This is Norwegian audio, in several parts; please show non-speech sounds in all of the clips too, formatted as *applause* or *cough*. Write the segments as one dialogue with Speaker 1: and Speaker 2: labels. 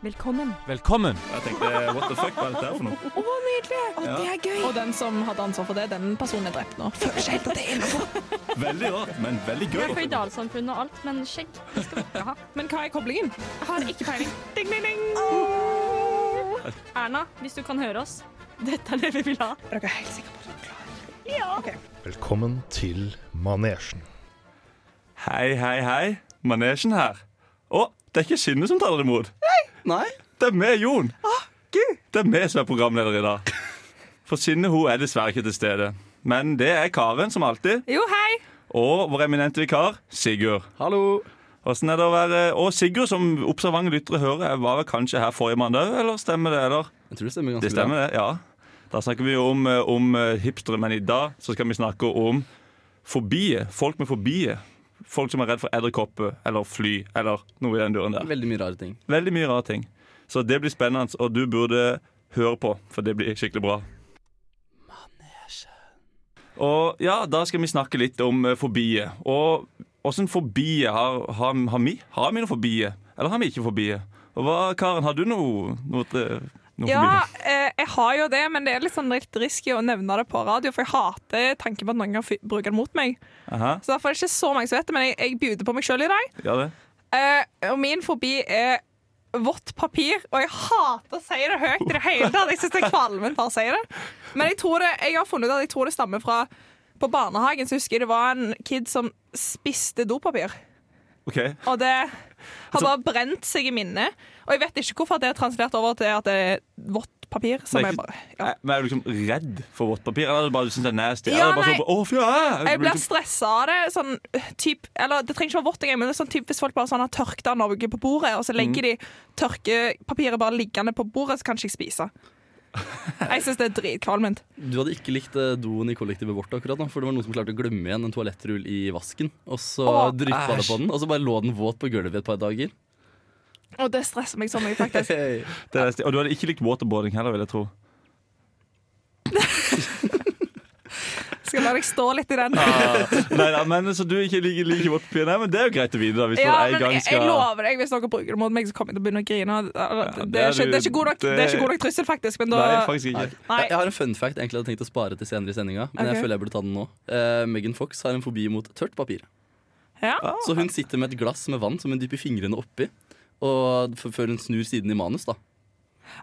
Speaker 1: Velkommen.
Speaker 2: Velkommen!
Speaker 3: Og jeg tenkte what the fuck, hva er dette her for noe?
Speaker 4: Å, nydelig!
Speaker 3: Ja.
Speaker 4: Det er gøy. Og den som hadde ansvar for det, den personen er drept nå. Føler seg helt at det er innenfor.
Speaker 3: Veldig rart, men veldig gøy.
Speaker 1: Vi er føydalsamfunn og alt, men skjegg det skal vi ikke ha.
Speaker 4: Men hva er koblingen?
Speaker 1: Jeg har ikke peiling. Ding, ding, ding. Erna, hvis du kan høre oss, dette er det vi vil ha.
Speaker 4: Er dere helt sikre på at dere er klare?
Speaker 5: Velkommen til Manesjen.
Speaker 3: Hei, hei, hei. Manesjen her. Å, det er ikke Skinne som taler imot.
Speaker 6: Nei?
Speaker 3: Det er meg, Jon. Det er meg som er programleder i dag. For Skinne hun er dessverre ikke til stede. Men det er Karen, som alltid.
Speaker 1: Jo, hei!
Speaker 3: Og vår eminente vikar, Sigurd.
Speaker 6: Hallo.
Speaker 3: Hvordan er det å være Og Sigurd, som observante lyttere hører, var vel kanskje her forrige mandag, eller stemmer det, eller?
Speaker 6: Jeg tror det stemmer ganske
Speaker 3: Det stemmer, det. ja Da snakker vi om, eh, om eh, hipstere, men i dag så skal vi snakke om fobier. Folk med fobier. Folk som er redd for edderkopper eller fly eller noe i den duren
Speaker 6: bra.
Speaker 3: der.
Speaker 6: Veldig mye rare ting.
Speaker 3: Veldig mye rare ting. Så det blir spennende, og du burde høre på, for det blir skikkelig bra. Og ja, da skal vi snakke litt om eh, fobier. Og åssen fobier har, har, har vi? Har vi noen fobier? Eller har vi ikke fobier? Og hva, Karen, har du noe, noe, til- noe
Speaker 4: Ja,
Speaker 3: fobier?
Speaker 4: eh, jeg har jo det, men det er litt sånn litt risky å nevne det på radio, for jeg hater tanken på at noen kan fy- bruke det mot meg.
Speaker 3: Aha,
Speaker 4: Så derfor er det ikke så mange som vet det, men jeg, jeg bjuder på meg sjøl i dag.
Speaker 3: ja det.
Speaker 4: Eh, og min fobi er vått papir, og jeg hater å si det høyt i det hele tatt. Jeg syns det er kvalmende bare å si det. Men jeg tror det, jeg har funnet ut at jeg tror det stammer fra På barnehagen så husker jeg det var en kid som spiste dopapir.
Speaker 3: OK.
Speaker 4: Og det har bare brent seg i minnet. Og jeg vet ikke hvorfor det er translert over til at det er vått papir. Som
Speaker 3: Nei,
Speaker 4: jeg
Speaker 3: ikke-
Speaker 4: bare, ja.
Speaker 3: Nei, Men er du liksom redd for vått papir, eller er det bare du synes det er nasty?
Speaker 4: Ja,
Speaker 3: eller bare
Speaker 4: nei.
Speaker 3: sånn, Åh, fy, ah!
Speaker 4: Jeg blir
Speaker 3: liksom,
Speaker 4: stressa av det. Sånn, typ, eller, det trenger ikke være vått engang, men det er sånn, typ, hvis folk bare sånn, har tørket av noe på bordet, og så
Speaker 3: Mm.
Speaker 4: legger de tørkepapiret bare liggende på bordet, så kan ikke jeg spise. Jeg syns det er dritkvalmt.
Speaker 6: Du hadde ikke likt eh, doen i kollektivet vårt akkurat nå, for det var noen som klarte å glemme igjen en toalettrull i vasken, og så
Speaker 4: Åh,
Speaker 6: dryppa det
Speaker 3: æsj.
Speaker 6: på den, og så bare lå den våt på gulvet et par dager.
Speaker 4: Og det stresser meg så mye, faktisk.
Speaker 3: det er nasty. Og du hadde ikke likt waterboarding heller, vil jeg tro.
Speaker 4: Skal jeg la deg stå litt i den.
Speaker 3: *laughs* Nei, da, men Så du ikke liker, liker vått papir? Nei, men det er jo greit å vite, da. Hvis
Speaker 4: Ja,
Speaker 3: du
Speaker 4: men
Speaker 3: en gang
Speaker 4: jeg,
Speaker 3: skal
Speaker 4: jeg lover deg, hvis noen bruker det mot meg, så kommer jeg til å begynne å grine. Eller,
Speaker 3: Ja,
Speaker 4: Det
Speaker 3: det er
Speaker 4: er ikke- det er
Speaker 3: du-
Speaker 4: ikke god nok- det er ikke god nok trussel, faktisk. Men da
Speaker 3: Nei, faktisk ikke.
Speaker 6: Nei.
Speaker 4: Nei.
Speaker 6: Jeg, jeg har en fun fact egentlig jeg hadde tenkt å spare til senere i sendinga, men
Speaker 4: Ok.
Speaker 6: jeg føler jeg burde ta den nå. Eh, Megan Fox har en fobi mot tørt papir.
Speaker 4: ja.
Speaker 6: Så hun sitter med et glass med vann som hun dypper fingrene oppi, og f før hun snur siden i manus, da.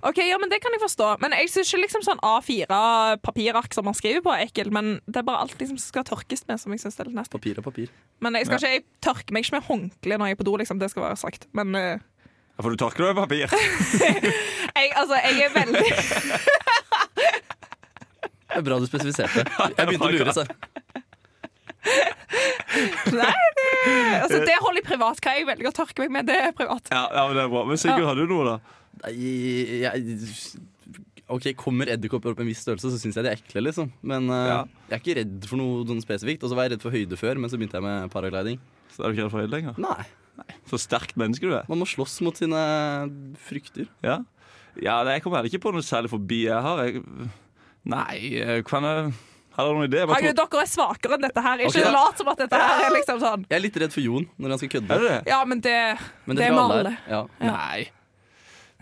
Speaker 4: Ok, ja, men Det kan jeg forstå. Men jeg syns ikke liksom sånn A4-papirark som man skriver på, er ekkelt. Men det er bare alt liksom som skal tørkes med, som jeg synes er litt nasty.
Speaker 6: Papir er papir.
Speaker 4: Men jeg, skal ikke, jeg tørker meg ikke med håndkle når jeg er på do, liksom. Det skal være sagt. Men eh,
Speaker 3: Ja, For du tørker deg med papir.
Speaker 4: jeg, altså, jeg er veldig
Speaker 6: Det er bra
Speaker 3: *laughs*
Speaker 6: du spesifiserte. Jeg begynte å lure, så.
Speaker 4: Nei, det, altså, det holder jeg privat. Hva jeg velger å tørke meg med, det er privat.
Speaker 3: *laughs* Ja, ja, men det er bra. Men Sigurd,
Speaker 4: Ja.
Speaker 3: har du noe, da?
Speaker 6: Nei, jeg, Ok, Kommer edderkopper opp i en viss størrelse, så syns jeg de er ekle. liksom Men eh,
Speaker 3: Ja.
Speaker 6: jeg er ikke redd for noe, noe spesifikt. Og så var jeg redd for høyde før, men så begynte jeg med paragliding.
Speaker 3: Så er du ikke redd for høyde lenger?
Speaker 6: Nei,
Speaker 3: Så sterkt menneske du er.
Speaker 6: Man må slåss mot sine frykter.
Speaker 3: Ja, ja nei, Jeg kommer heller ikke på noe særlig forbi jeg har. Jeg... Nei, eh, kan jeg Har du noen idé? Jeg bare
Speaker 4: Herregud, dere er svakere enn dette her. Ikke
Speaker 6: Ok, da.
Speaker 4: lat som at dette her er liksom sånn.
Speaker 6: Jeg er litt redd for Jon når han skal
Speaker 3: tror-
Speaker 6: kødde.
Speaker 3: Er du det?
Speaker 4: Ja, men det,
Speaker 6: Men
Speaker 4: det er
Speaker 6: tror
Speaker 4: med
Speaker 6: jeg
Speaker 4: alle.
Speaker 6: er. Ja.
Speaker 3: Nei.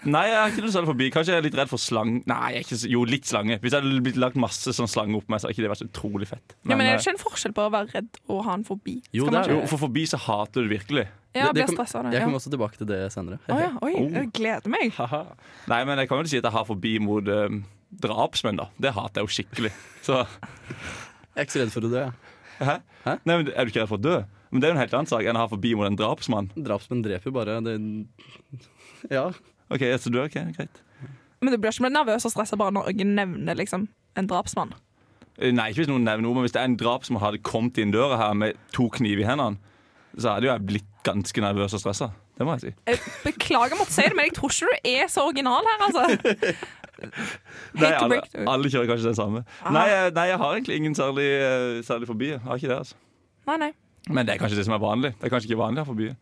Speaker 3: Nei, jeg har ikke noe særlig forbi. Kanskje jeg er litt redd for slang. Nei, jeg er ikke, så- jo, litt slange. Hvis jeg hadde blitt lagt masse sånn slange opp meg, så hadde ikke det vært så utrolig fett.
Speaker 4: Ja, men er
Speaker 3: eh,
Speaker 4: det ikke en forskjell på å være redd og ha en fobi?
Speaker 6: Jo,
Speaker 4: Skal
Speaker 6: det
Speaker 4: man
Speaker 6: er
Speaker 4: ikke-
Speaker 3: jo, for forbi så hater du det virkelig.
Speaker 4: Ja,
Speaker 6: Det- det
Speaker 4: blir
Speaker 6: kom-
Speaker 4: stressa av det.
Speaker 6: Jeg
Speaker 4: Ja.
Speaker 6: kommer også tilbake til det senere.
Speaker 4: Å ja, oi,
Speaker 3: Oh.
Speaker 4: jeg gleder meg.
Speaker 3: Nei, men jeg kan vel si at jeg har forbi mot eh, drapsmenn, da. Det hater jeg jo skikkelig. Så,
Speaker 6: Jeg er ikke så redd for å dø. jeg.
Speaker 3: hæ?
Speaker 6: Hæ?
Speaker 3: Nei, men Er du ikke redd for å dø? Men Det er jo en helt annen sak enn å ha forbi mot en drapsmann.
Speaker 6: Drapsmenn dreper jo bare. Det... *laughs* Ja.
Speaker 3: Ok, så du er ok, greit
Speaker 4: Men du blir ikke mer nervøs og stressa bare når noen nevner liksom, en drapsmann.
Speaker 3: Eh, Nei, ikke hvis noen nevner noe, men hvis det er en drapsmann hadde kommet inn døra her med to kniver i hendene, så hadde jo jeg blitt ganske nervøs og stressa. Det må jeg si.
Speaker 4: Jeg beklager å måtte si det, men jeg tror ikke du er så original her, altså.
Speaker 3: *laughs* Nei,
Speaker 4: Hate to
Speaker 3: alle,
Speaker 4: break through.
Speaker 3: alle kjører kanskje den samme. Nei, jeg, nei, jeg har egentlig ingen særlig, eh, særlig forbi. Jeg har ikke det, altså.
Speaker 4: Nei, nei.
Speaker 3: Men det er kanskje det som er vanlig. Det er kanskje ikke vanlig å ha forbi.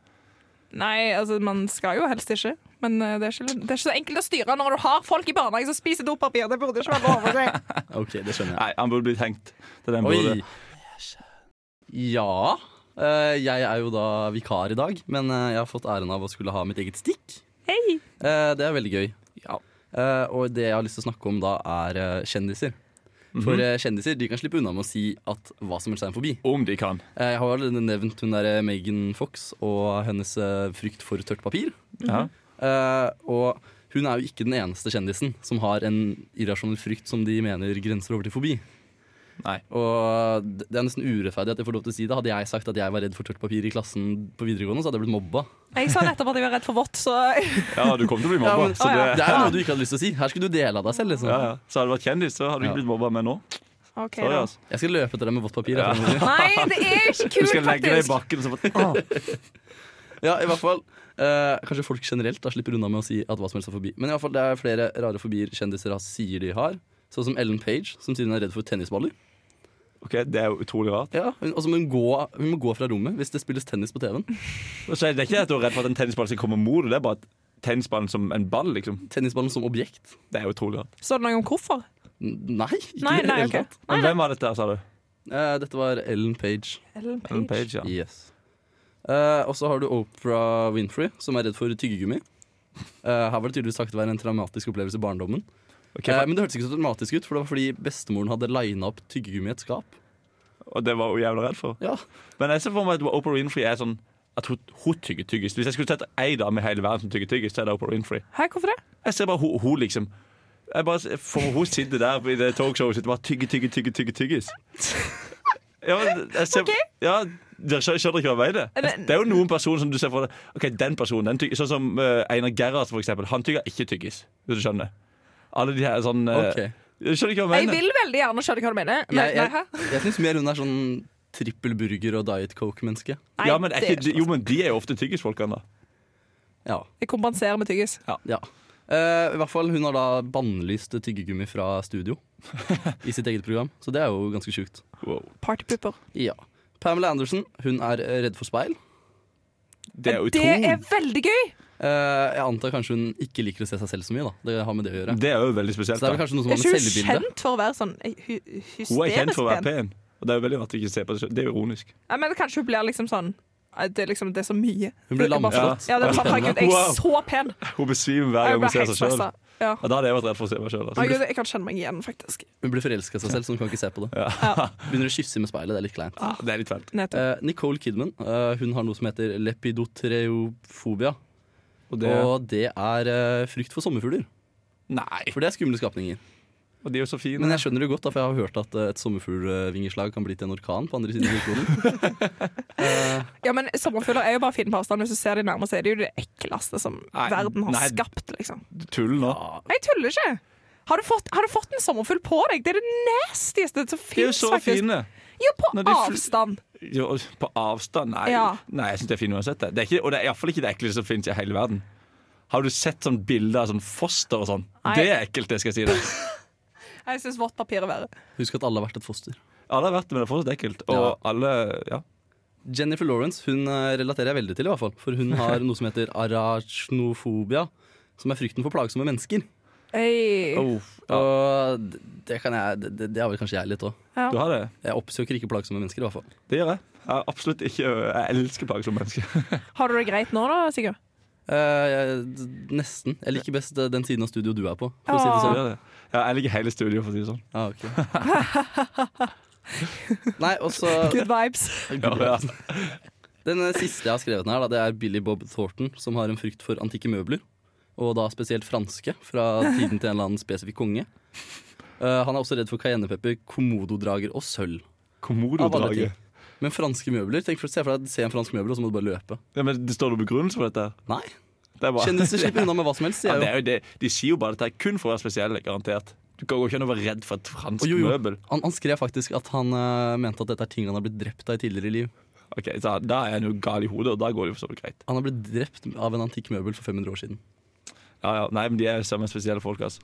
Speaker 4: Nei, altså, man skal jo helst ikke. Men eh, det er ikke, det er ikke så enkelt å styre når du har folk i barnehagen som spiser dopapir. Det burde ikke være lov å si.
Speaker 6: OK, det skjønner jeg.
Speaker 3: Nei, han burde blitt hengt. Det er den burde.
Speaker 6: Oi! Ja. eh, jeg er jo da vikar i dag, men eh, jeg har fått æren av å skulle ha mitt eget stikk.
Speaker 1: Hei!
Speaker 6: Eh, det er veldig gøy.
Speaker 3: Ja.
Speaker 6: Eh, og det jeg har lyst til å snakke om da, er eh, kjendiser. For eh, kjendiser de kan slippe unna med å si at hva som helst er en fobi.
Speaker 3: Om de kan.
Speaker 6: Eh, jeg har jo allerede nevnt hun der eh, Megan Fox og hennes eh, frykt for tørt papir.
Speaker 3: Ja.
Speaker 6: Eh, og hun er jo ikke den eneste kjendisen som har en irrasjonell frykt som de mener grenser over til fobi.
Speaker 3: Nei.
Speaker 6: Og det det er nesten urettferdig at jeg får lov til å si det. Hadde jeg sagt at jeg var redd for tørt papir i klassen på videregående, så hadde jeg blitt mobba.
Speaker 4: *laughs* Jeg sa nettopp at jeg var redd for vått, så *laughs*
Speaker 3: Ja, du kom til å bli mobba.
Speaker 6: Ja, men-
Speaker 3: så, det,
Speaker 6: Det er jo noe du ikke hadde lyst til å si. Her skulle du dele av deg selv. liksom
Speaker 3: ja, ja. så hadde du vært kjendis, så hadde du ikke
Speaker 6: Ja.
Speaker 3: blitt mobba med nå.
Speaker 4: OK.
Speaker 3: Sorry,
Speaker 4: da.
Speaker 3: altså.
Speaker 6: Jeg skal løpe etter deg med vått papir.
Speaker 3: Ja.
Speaker 6: jeg.
Speaker 4: Nei, det er
Speaker 3: *laughs*
Speaker 4: ikke
Speaker 3: Du
Speaker 4: kult,
Speaker 3: skal legge deg i
Speaker 4: faktisk.
Speaker 3: bakken. Så bare,
Speaker 4: *laughs*
Speaker 3: ah.
Speaker 6: Ja, i hvert fall eh, Kanskje folk generelt da slipper unna med å si at hva som helst er forbi. Men i hvert fall det er flere rare fobier kjendiser har, sier de har. Sånn som Ellen Page, som sier hun er redd for tennisballer.
Speaker 3: Ok, Det er jo utrolig rart.
Speaker 6: Ja, hun, altså, må hun, gå, hun må gå fra rommet hvis det spilles tennis på TV-en.
Speaker 3: Og Så er det ikke det at du er redd for at en tennisball skal komme mot deg, det er bare at tennisballen som en ball, liksom.
Speaker 6: Tennisballen som objekt.
Speaker 3: Det er jo utrolig rart.
Speaker 4: Står det noe om hvorfor?
Speaker 6: N- Nei, ikke
Speaker 4: Nei,
Speaker 6: i det
Speaker 4: nei,
Speaker 6: hele
Speaker 4: ok.
Speaker 6: tatt.
Speaker 3: Men hvem var dette, her, sa du?
Speaker 6: Eh, dette var Ellen Page.
Speaker 4: Ellen
Speaker 3: Ellen
Speaker 4: Page.
Speaker 3: Page, ja.
Speaker 6: Yes. Eh, og så har du Oprah Winfrey, som er redd for tyggegummi. Eh, her var det tydeligvis takket være en traumatisk opplevelse i barndommen.
Speaker 3: Ok,
Speaker 6: Eh,
Speaker 3: for,
Speaker 6: men det hørtes ikke så traumatisk ut, for det var fordi bestemoren hadde lina opp tyggegummi i et skap.
Speaker 3: og det var hun jævla redd for.
Speaker 6: Ja,
Speaker 3: Men jeg ser for meg at Oprah Winfrey er sånn at hun, hun tygger tyggis. Hvis jeg skulle sett ei dame i hele verden som tygger tyggis, så er det Oprah Winfrey.
Speaker 4: Hæ, hvorfor det?
Speaker 3: Jeg ser bare hun, hun liksom jeg bare, ser- for Hun sitter der i det talkshowet sitt og bare tygger, tygger, tygger, tygger tyggis. Ja, men jeg ser, ja, dere skjø- skjønner ikke hva jeg mener?
Speaker 4: Men-
Speaker 3: Det er jo noen personer som du ser for deg Ok, den personen, den tygger, Sånn som eh, Einar Gerhardsen, for eksempel. Han tygger ikke tyggis. Hvis du skjønner. Alle de her sånn eh,
Speaker 6: ok
Speaker 3: Jeg skjønner ikke hva jeg
Speaker 4: Jeg
Speaker 3: mener.
Speaker 4: vil veldig gjerne skjønne hva du mener. Nei,
Speaker 6: Jeg,
Speaker 4: nei, hæ?
Speaker 6: jeg, *laughs* jeg syns mer hun er sånn trippel burger og diet coke-menneske.
Speaker 4: Nei,
Speaker 3: ja, men er
Speaker 4: det
Speaker 3: ikke,
Speaker 4: gjør ikke sånn.
Speaker 3: jo, men de er jo ofte tyggisfolkene, da.
Speaker 6: Ja.
Speaker 4: Jeg kompenserer med tyggis.
Speaker 6: ja. Eh, I hvert fall Hun har da bannlyst tyggegummi fra
Speaker 3: *laughs*
Speaker 6: studio i sitt eget program, så det er jo ganske sjukt.
Speaker 4: Partypooper.
Speaker 6: Ja. Pamela Anderson hun er eh, redd for speil.
Speaker 3: Det er jo
Speaker 4: Det
Speaker 3: utrolig.
Speaker 4: er veldig gøy!
Speaker 6: Eh, jeg antar kanskje hun ikke liker å se seg selv så mye. da Det har med det å gjøre.
Speaker 3: Det er jo veldig
Speaker 6: Så
Speaker 3: spesielt.
Speaker 6: det er vel
Speaker 3: Da.
Speaker 6: kanskje noe som
Speaker 4: Er
Speaker 6: har med
Speaker 4: ikke hun
Speaker 6: selvbildet
Speaker 4: kjent for å være sånn eh, hy hysterisk
Speaker 3: Hun er kjent for å være
Speaker 4: pen?
Speaker 3: pen. Og det er jo veldig rart å ikke se på det selv. Det er jo
Speaker 4: *laughs*
Speaker 3: ironisk.
Speaker 4: Jeg mener, kanskje hun blir liksom sånn eh, Det er liksom det er så mye.
Speaker 6: Hun blir
Speaker 4: Det er bare- sånn,
Speaker 6: lamslått.
Speaker 4: Ja, det er bare, herregud, jeg
Speaker 3: Wow.
Speaker 4: er så pen!
Speaker 3: Hun besvimer hver
Speaker 4: Jeg
Speaker 3: gang hun
Speaker 4: ble
Speaker 3: ser
Speaker 4: helt
Speaker 3: seg sjøl.
Speaker 4: stressa. Ja.
Speaker 3: Ja, da hadde jeg vært redd for å se meg altså. sjøl.
Speaker 4: Herregud, jeg kan kjenne meg igjen, faktisk.
Speaker 6: Hun blir forelska i seg selv, så hun kan ikke se på det.
Speaker 4: Ja.
Speaker 6: Begynner å kysse med speilet. Det er litt kleint.
Speaker 3: Det er litt fælt.
Speaker 4: Nettopp.
Speaker 6: Eh, Nicole Kidman eh, hun har noe som heter lepidotreofobia.
Speaker 3: Og det,
Speaker 6: Og det er eh, frykt for sommerfugler.
Speaker 3: nei.
Speaker 6: For det er skumle skapninger.
Speaker 3: Og de er jo så fine.
Speaker 6: Men jeg skjønner det godt, da, for jeg har hørt at eh, et sommerfuglvingeslag kan bli til en orkan på andre siden av jordkloden.
Speaker 4: Ja, men Sommerfugler er jo bare fine på avstand. Hvis du ser dem nærmere, så er det jo det ekleste som
Speaker 3: Nei,
Speaker 4: verden har
Speaker 3: nei.
Speaker 4: skapt. liksom
Speaker 3: Du tuller nå.
Speaker 4: Jeg tuller ikke! Har du, fått, har du fått en sommerfugl på deg? Det er det nastieste som
Speaker 3: De er jo
Speaker 4: fins,
Speaker 3: så
Speaker 4: faktisk.
Speaker 3: fine.
Speaker 4: Jo, på
Speaker 3: Når de fl-
Speaker 4: avstand.
Speaker 3: Jo, på avstand? Nei,
Speaker 4: Ja.
Speaker 3: nei jeg syns de er fine uansett. det. Det er ikke, og det er iallfall ikke det ekleste som fins i hele verden. Har du sett sånn bilder av sånn foster og sånn?
Speaker 4: Nei.
Speaker 3: Det er ekkelt, det skal jeg si deg.
Speaker 4: Jeg syns vått papir er verre.
Speaker 6: Husk at alle har vært et foster.
Speaker 3: Alle har vært det, men det er fortsatt ekkelt. Og
Speaker 6: Ja.
Speaker 3: alle Ja.
Speaker 6: Jennifer Lawrence hun eh, relaterer jeg veldig til, i hvert fall. For hun har noe som heter arachnofobia. Som er frykten for plagsomme mennesker.
Speaker 4: Øy.
Speaker 3: ja.
Speaker 6: Og d- det, kan jeg, det- det, det har vel kanskje jeg litt òg.
Speaker 4: Ja.
Speaker 3: Du har det?
Speaker 6: Jeg oppsøker ikke plagsomme mennesker, i hvert fall.
Speaker 3: Det gjør jeg. Jeg, er absolutt ikke, jeg elsker plagsomme mennesker.
Speaker 4: Har du det greit nå, da, Sigurd?
Speaker 6: Eh, jeg, d- nesten. Jeg liker best eh, den siden av studio du er på. For å si det
Speaker 3: Så
Speaker 6: sånn.
Speaker 3: det gjør jeg. Ja, jeg liker hele studio, for å si det sånn.
Speaker 6: Ah, ok. *laughs* Nei, og så
Speaker 4: Good vibes.
Speaker 3: Ja, ja.
Speaker 6: Den eh, siste jeg har skrevet ned, da, det er Billy Bob Thornton, som har en frykt for antikke møbler. Og da spesielt franske, fra tiden til en eller annen spesifikk konge. Eh, han er også redd for cayennepepper, komododrager og sølv. Av alle ting.
Speaker 3: Komododraget.
Speaker 6: Men franske møbler Tenk for, Se for deg se en fransk møbel, og så må du bare løpe.
Speaker 3: Ja, men det står noen begrunnelse for dette? her?
Speaker 6: Nei.
Speaker 3: Det er bare-
Speaker 6: Kjendiser slipper unna med hva som helst,
Speaker 3: *laughs* Ja,
Speaker 6: sier
Speaker 3: det
Speaker 6: jeg jo.
Speaker 3: er jo det. De sier jo bare at det er kun for å være spesiell, garantert. Du kan jo ikke an å være redd for et fransk
Speaker 6: Å, jo, jo.
Speaker 3: møbel.
Speaker 6: Han, han skrev faktisk at han eh, mente at dette er ting han har blitt drept av i tidligere liv.
Speaker 3: Ok, så Da er en jo gal i hodet, og da går det jo for så vidt greit.
Speaker 6: Han har blitt drept av en antikk møbel for 500 år siden.
Speaker 3: Ja, ja. Nei, men de er jo sammen spesielle folk, altså.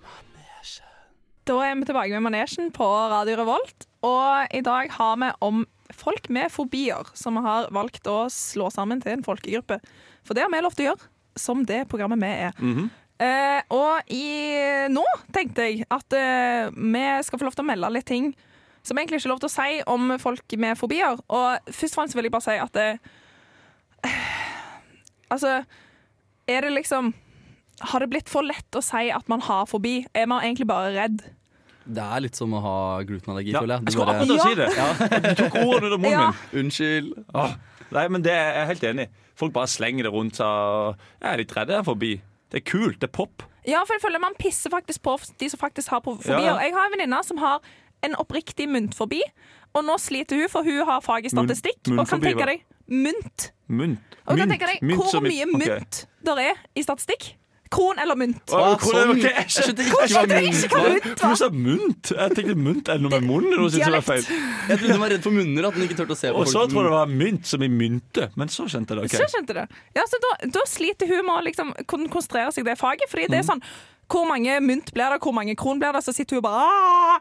Speaker 4: Da er vi tilbake med manesjen på Radio Revolt. Og i dag har vi om folk med fobier, som vi har valgt å slå sammen til en folkegruppe. For det har vi lov til å gjøre, som det programmet vi er. eh, og i, nå tenkte jeg at eh, vi skal få lov til å melde litt ting som egentlig ikke er lov til å si om folk med fobier. Og først og fremst vil jeg bare si at eh, Altså, er det liksom har det blitt for lett å si at man har fobi? Er man egentlig bare redd?
Speaker 6: Det er litt som å ha glutenallergi,
Speaker 3: Ja,
Speaker 6: føler jeg.
Speaker 3: jeg
Speaker 6: Du
Speaker 3: skulle
Speaker 6: bare-
Speaker 3: akkurat til å si det!
Speaker 6: ja.
Speaker 3: Du tok ordene ut av munnen
Speaker 4: Ja.
Speaker 3: min.
Speaker 6: Unnskyld.
Speaker 3: Åh, nei, men det er jeg helt enig i. Folk bare slenger det rundt seg. og Jeg er litt redd jeg er forbi. Det er kult, det er pop.
Speaker 4: Ja, for jeg føler man pisser faktisk på de som faktisk har fobi.
Speaker 3: Ja, ja.
Speaker 4: Og jeg har en venninne som har en oppriktig muntfobi, og nå sliter hun, for hun har fag i statistikk, og kan
Speaker 3: munnfobi, hva?
Speaker 4: tenke deg mynt.
Speaker 3: Mynt.
Speaker 4: Og du kan tenke deg
Speaker 3: mynt
Speaker 4: hvor
Speaker 3: som i-
Speaker 4: mye
Speaker 3: ok.
Speaker 4: mynt der er i statistikk. Kron eller
Speaker 3: Åh,
Speaker 4: mynt.
Speaker 6: Åh,
Speaker 3: hvor er det-
Speaker 6: sånn.
Speaker 3: ok, Jeg skjønte ikke
Speaker 4: Jeg skjønte ikke hva mynt
Speaker 3: Du
Speaker 4: var.
Speaker 3: sa mynt. Jeg tenkte mynt er det noe med munnen. Nå synes jeg var feil.
Speaker 4: Dialekt.
Speaker 6: Jeg trodde hun var redd for munner, at hun ikke turte å se på
Speaker 3: Og så
Speaker 6: folk.
Speaker 3: trodde jeg det var mynt som i mynte, men så skjønte jeg det.
Speaker 4: Så
Speaker 3: ok
Speaker 4: skjønte du. Ja, så da, da sliter hun med å liksom kon- konsentrere seg i det faget, fordi
Speaker 3: Mm.
Speaker 4: det er sånn hvor mange mynt blir det, hvor mange kron blir det? Så sitter hun bare «Ah!»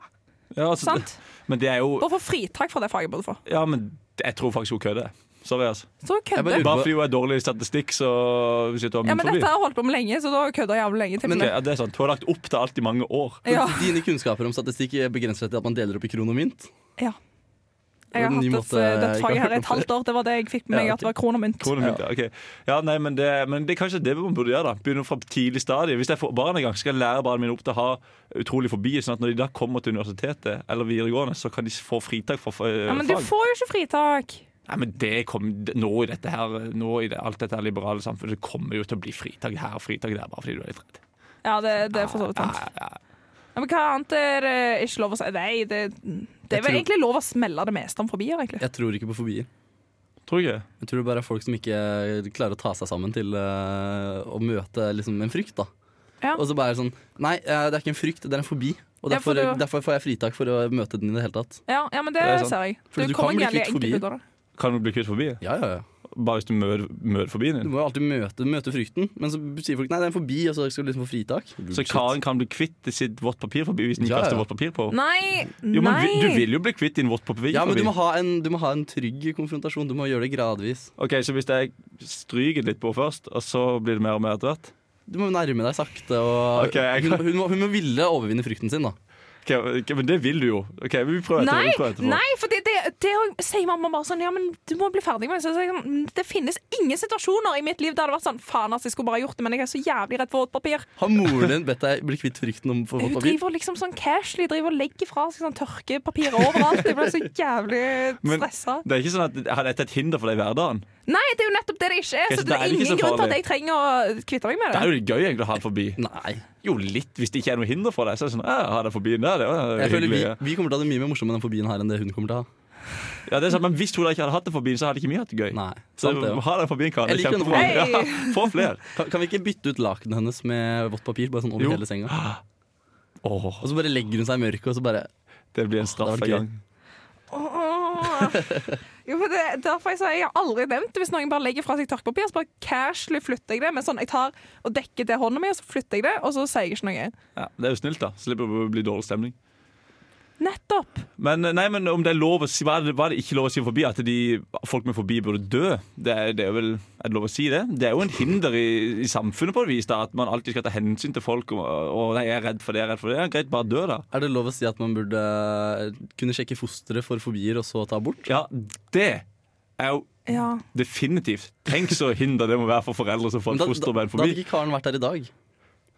Speaker 3: ja, altså,
Speaker 4: Sant?
Speaker 3: Men det er jo
Speaker 4: Bare få fritak fra det faget burde du få.
Speaker 3: Ja, men jeg tror faktisk hun kødder. Sorry, altså.
Speaker 4: Så kødder
Speaker 6: bare
Speaker 4: hun.
Speaker 6: lurer-
Speaker 3: Bare fordi hun er dårlig i statistikk, så sitter hun
Speaker 4: Ja,
Speaker 3: og
Speaker 4: men
Speaker 3: mynt forbi.
Speaker 4: dette har hun holdt på med lenge, så da har hun kødda jævlig lenge. til
Speaker 3: Ok, ja, det er sant. Hun har lagt opp til alt i mange år.
Speaker 4: Ja.
Speaker 6: Dine kunnskaper om statistikk begrenser seg til at man deler opp i kron og mynt.
Speaker 4: ja. Jeg har
Speaker 6: Ny
Speaker 4: hatt et,
Speaker 6: måte-
Speaker 4: eh, dette
Speaker 6: jeg
Speaker 4: faget
Speaker 6: har
Speaker 4: her i et halvt år. Det var det jeg fikk med meg,
Speaker 6: Ja,
Speaker 4: at det var kron og mynt.
Speaker 3: Kronemynt, ja. ok. ja, nei, men det, men det er kanskje det man burde gjøre. da Begynne fra tidlig stadie. Hvis jeg får barn en gang, skal jeg lære barna mine opp til å ha utrolig forbi. Sånn at når de da kommer til universitetet eller videregående, så kan de få fritak fra eh,
Speaker 4: Ja, men du
Speaker 3: fag.
Speaker 4: får jo ikke fritak.
Speaker 3: Nei, men det kom, Nå i dette her Nå i det, alt dette her liberale samfunnet Det kommer jo til å bli fritak her og fritak der bare fordi du er litt redd.
Speaker 4: Ja, det, det er for så vidt
Speaker 3: Ah.
Speaker 4: sant. Ja, men hva annet er eh, ikke lov å si? Nei, det, det
Speaker 6: Jeg
Speaker 4: er vel
Speaker 6: tror-
Speaker 4: egentlig lov å smelle det meste om fobier, egentlig.
Speaker 6: Jeg tror ikke på fobier.
Speaker 3: Tror ikke.
Speaker 6: Jeg tror det bare er folk som ikke klarer å ta seg sammen til eh, å møte liksom, en frykt. da
Speaker 4: Ja.
Speaker 6: Og så bare sånn Nei, eh, det er ikke en frykt, det er en fobi. Og
Speaker 4: Ja, for
Speaker 6: derfor,
Speaker 4: du-
Speaker 6: derfor får jeg fritak for å møte den i det hele tatt.
Speaker 4: Ja, ja men det,
Speaker 3: Det er sant.
Speaker 4: ser jeg.
Speaker 6: Fordi du
Speaker 4: kommer
Speaker 6: kan bli
Speaker 4: jævlig
Speaker 6: kvitt
Speaker 4: enkelt
Speaker 6: fobier.
Speaker 4: ut av det.
Speaker 3: Kan du bli kvitt forbi?
Speaker 6: Ja, ja, ja
Speaker 3: Bare hvis du møter møter forbien
Speaker 6: Du
Speaker 3: din?
Speaker 6: må jo alltid møte, møte frykten, men så sier folk nei, det er en fobi, og så skal du liksom få fritak.
Speaker 3: Så
Speaker 6: Bullshit.
Speaker 3: Karen kan bli kvitt sitt vått papir forbi hvis den ikke
Speaker 6: Ja, ja.
Speaker 3: kaster vått papir på?
Speaker 4: Nei,
Speaker 3: Jo, men
Speaker 4: nei.
Speaker 3: vi- Du vil jo bli kvitt din vått papir
Speaker 6: Ja, men
Speaker 3: forbi.
Speaker 6: du må, ha en, du må ha en trygg konfrontasjon. Du må gjøre det gradvis.
Speaker 3: Ok, Så hvis jeg stryker litt på først, og så blir det mer og mer etter hvert?
Speaker 6: Du må nærme deg sakte. Og
Speaker 3: Ok, jeg
Speaker 6: hun,
Speaker 3: kan-
Speaker 6: hun, må, hun må ville overvinne frykten sin, da.
Speaker 3: Ok, ok, men det vil du jo. Ok, Vi prøver etterpå.
Speaker 4: Nei,
Speaker 3: vi prøver etterpå.
Speaker 4: nei, for det, det, det er jo- sier mamma bare sånn Ja, men du må bli ferdig med det. Så jeg sier sånn, Det finnes ingen situasjoner i mitt liv der det har vært sånn Faen, altså, jeg skulle bare gjort det, men jeg er så jævlig redd for vått papir.
Speaker 6: Har moren din bedt deg bli kvitt frykten om for
Speaker 4: Hun
Speaker 6: papir?
Speaker 4: driver liksom sånn casually driver og legger fra seg sånn tørkepapir overalt. Jeg ble så jævlig
Speaker 3: *laughs* Men-
Speaker 4: stressa.
Speaker 3: Det er ikke sånn at er dette et hinder for deg i hverdagen.
Speaker 4: Nei, det er jo nettopp det det ikke er,
Speaker 3: Ok,
Speaker 4: så
Speaker 3: så
Speaker 4: det
Speaker 3: da er
Speaker 4: er
Speaker 3: det ikke
Speaker 4: ingen
Speaker 3: så
Speaker 4: grunn til at
Speaker 3: farlig.
Speaker 4: jeg trenger å kvitte meg med
Speaker 3: Det
Speaker 4: det.
Speaker 3: er jo litt gøy egentlig å ha det forbi.
Speaker 6: Nei.
Speaker 3: Jo, litt, hvis det ikke er noe hinder for deg. Så er det sånn, ja, ha det forbi der, det var
Speaker 6: Jeg føler vi,
Speaker 3: hyggelig.
Speaker 6: vi kommer til å ha det mye mer morsomt med den fobien her enn det hun kommer til å ha.
Speaker 3: Ja, det er sant, men hvis hun da ikke hadde hatt det forbi, så hadde ikke vi hatt det gøy.
Speaker 6: Nei,
Speaker 3: så
Speaker 6: sant det, ja.
Speaker 3: ha det forbi, Karen.
Speaker 6: Jeg
Speaker 3: Det er
Speaker 6: liker den
Speaker 3: kjempebra.
Speaker 4: forbien.
Speaker 3: Ja, få flere.
Speaker 6: Kan, kan vi ikke bytte ut lakenet hennes med vått papir? Bare sånn over
Speaker 3: Jo.
Speaker 6: hele senga
Speaker 3: *gasps* Åh,
Speaker 6: Og så bare legger hun seg i mørket, og så bare
Speaker 3: det blir en
Speaker 6: Åh,
Speaker 3: straff
Speaker 6: det var
Speaker 3: en gang.
Speaker 4: Åh. Jo, for det, derfor jeg, sier jeg har aldri nevnt det. Hvis noen bare legger fra seg tørkepapir, så bare casually flytter jeg det. Men sånn, jeg tar og dekker til hånda mi, og så flytter jeg det, og så sier jeg ikke noe.
Speaker 3: Ja, det er jo snilt, da. Slipper det å bli dårlig stemning.
Speaker 4: Nettopp.
Speaker 3: Men, eh, nei, men om det er lov å si Hva er det, hva er det ikke lov å si om forbi? At de, folk med forbi burde dø? Det er, det er vel Er det lov å si det? Det er jo en hinder i, i samfunnet på et vis, da. At man alltid skal ta hensyn til folk. Og, og nei, jeg er redd for det, jeg er redd for det. Ja, greit, bare dø, da.
Speaker 6: Er det lov å si at man burde eh, kunne sjekke fosteret for fobier og så ta abort?
Speaker 3: Ja, det er jo
Speaker 4: Ja.
Speaker 3: definitivt. Tenk så hinder det må være for foreldre som får
Speaker 6: Men
Speaker 3: et
Speaker 6: da, da,
Speaker 3: foster med en
Speaker 6: da hadde
Speaker 3: forbi.
Speaker 6: ikke Karen vært her i dag.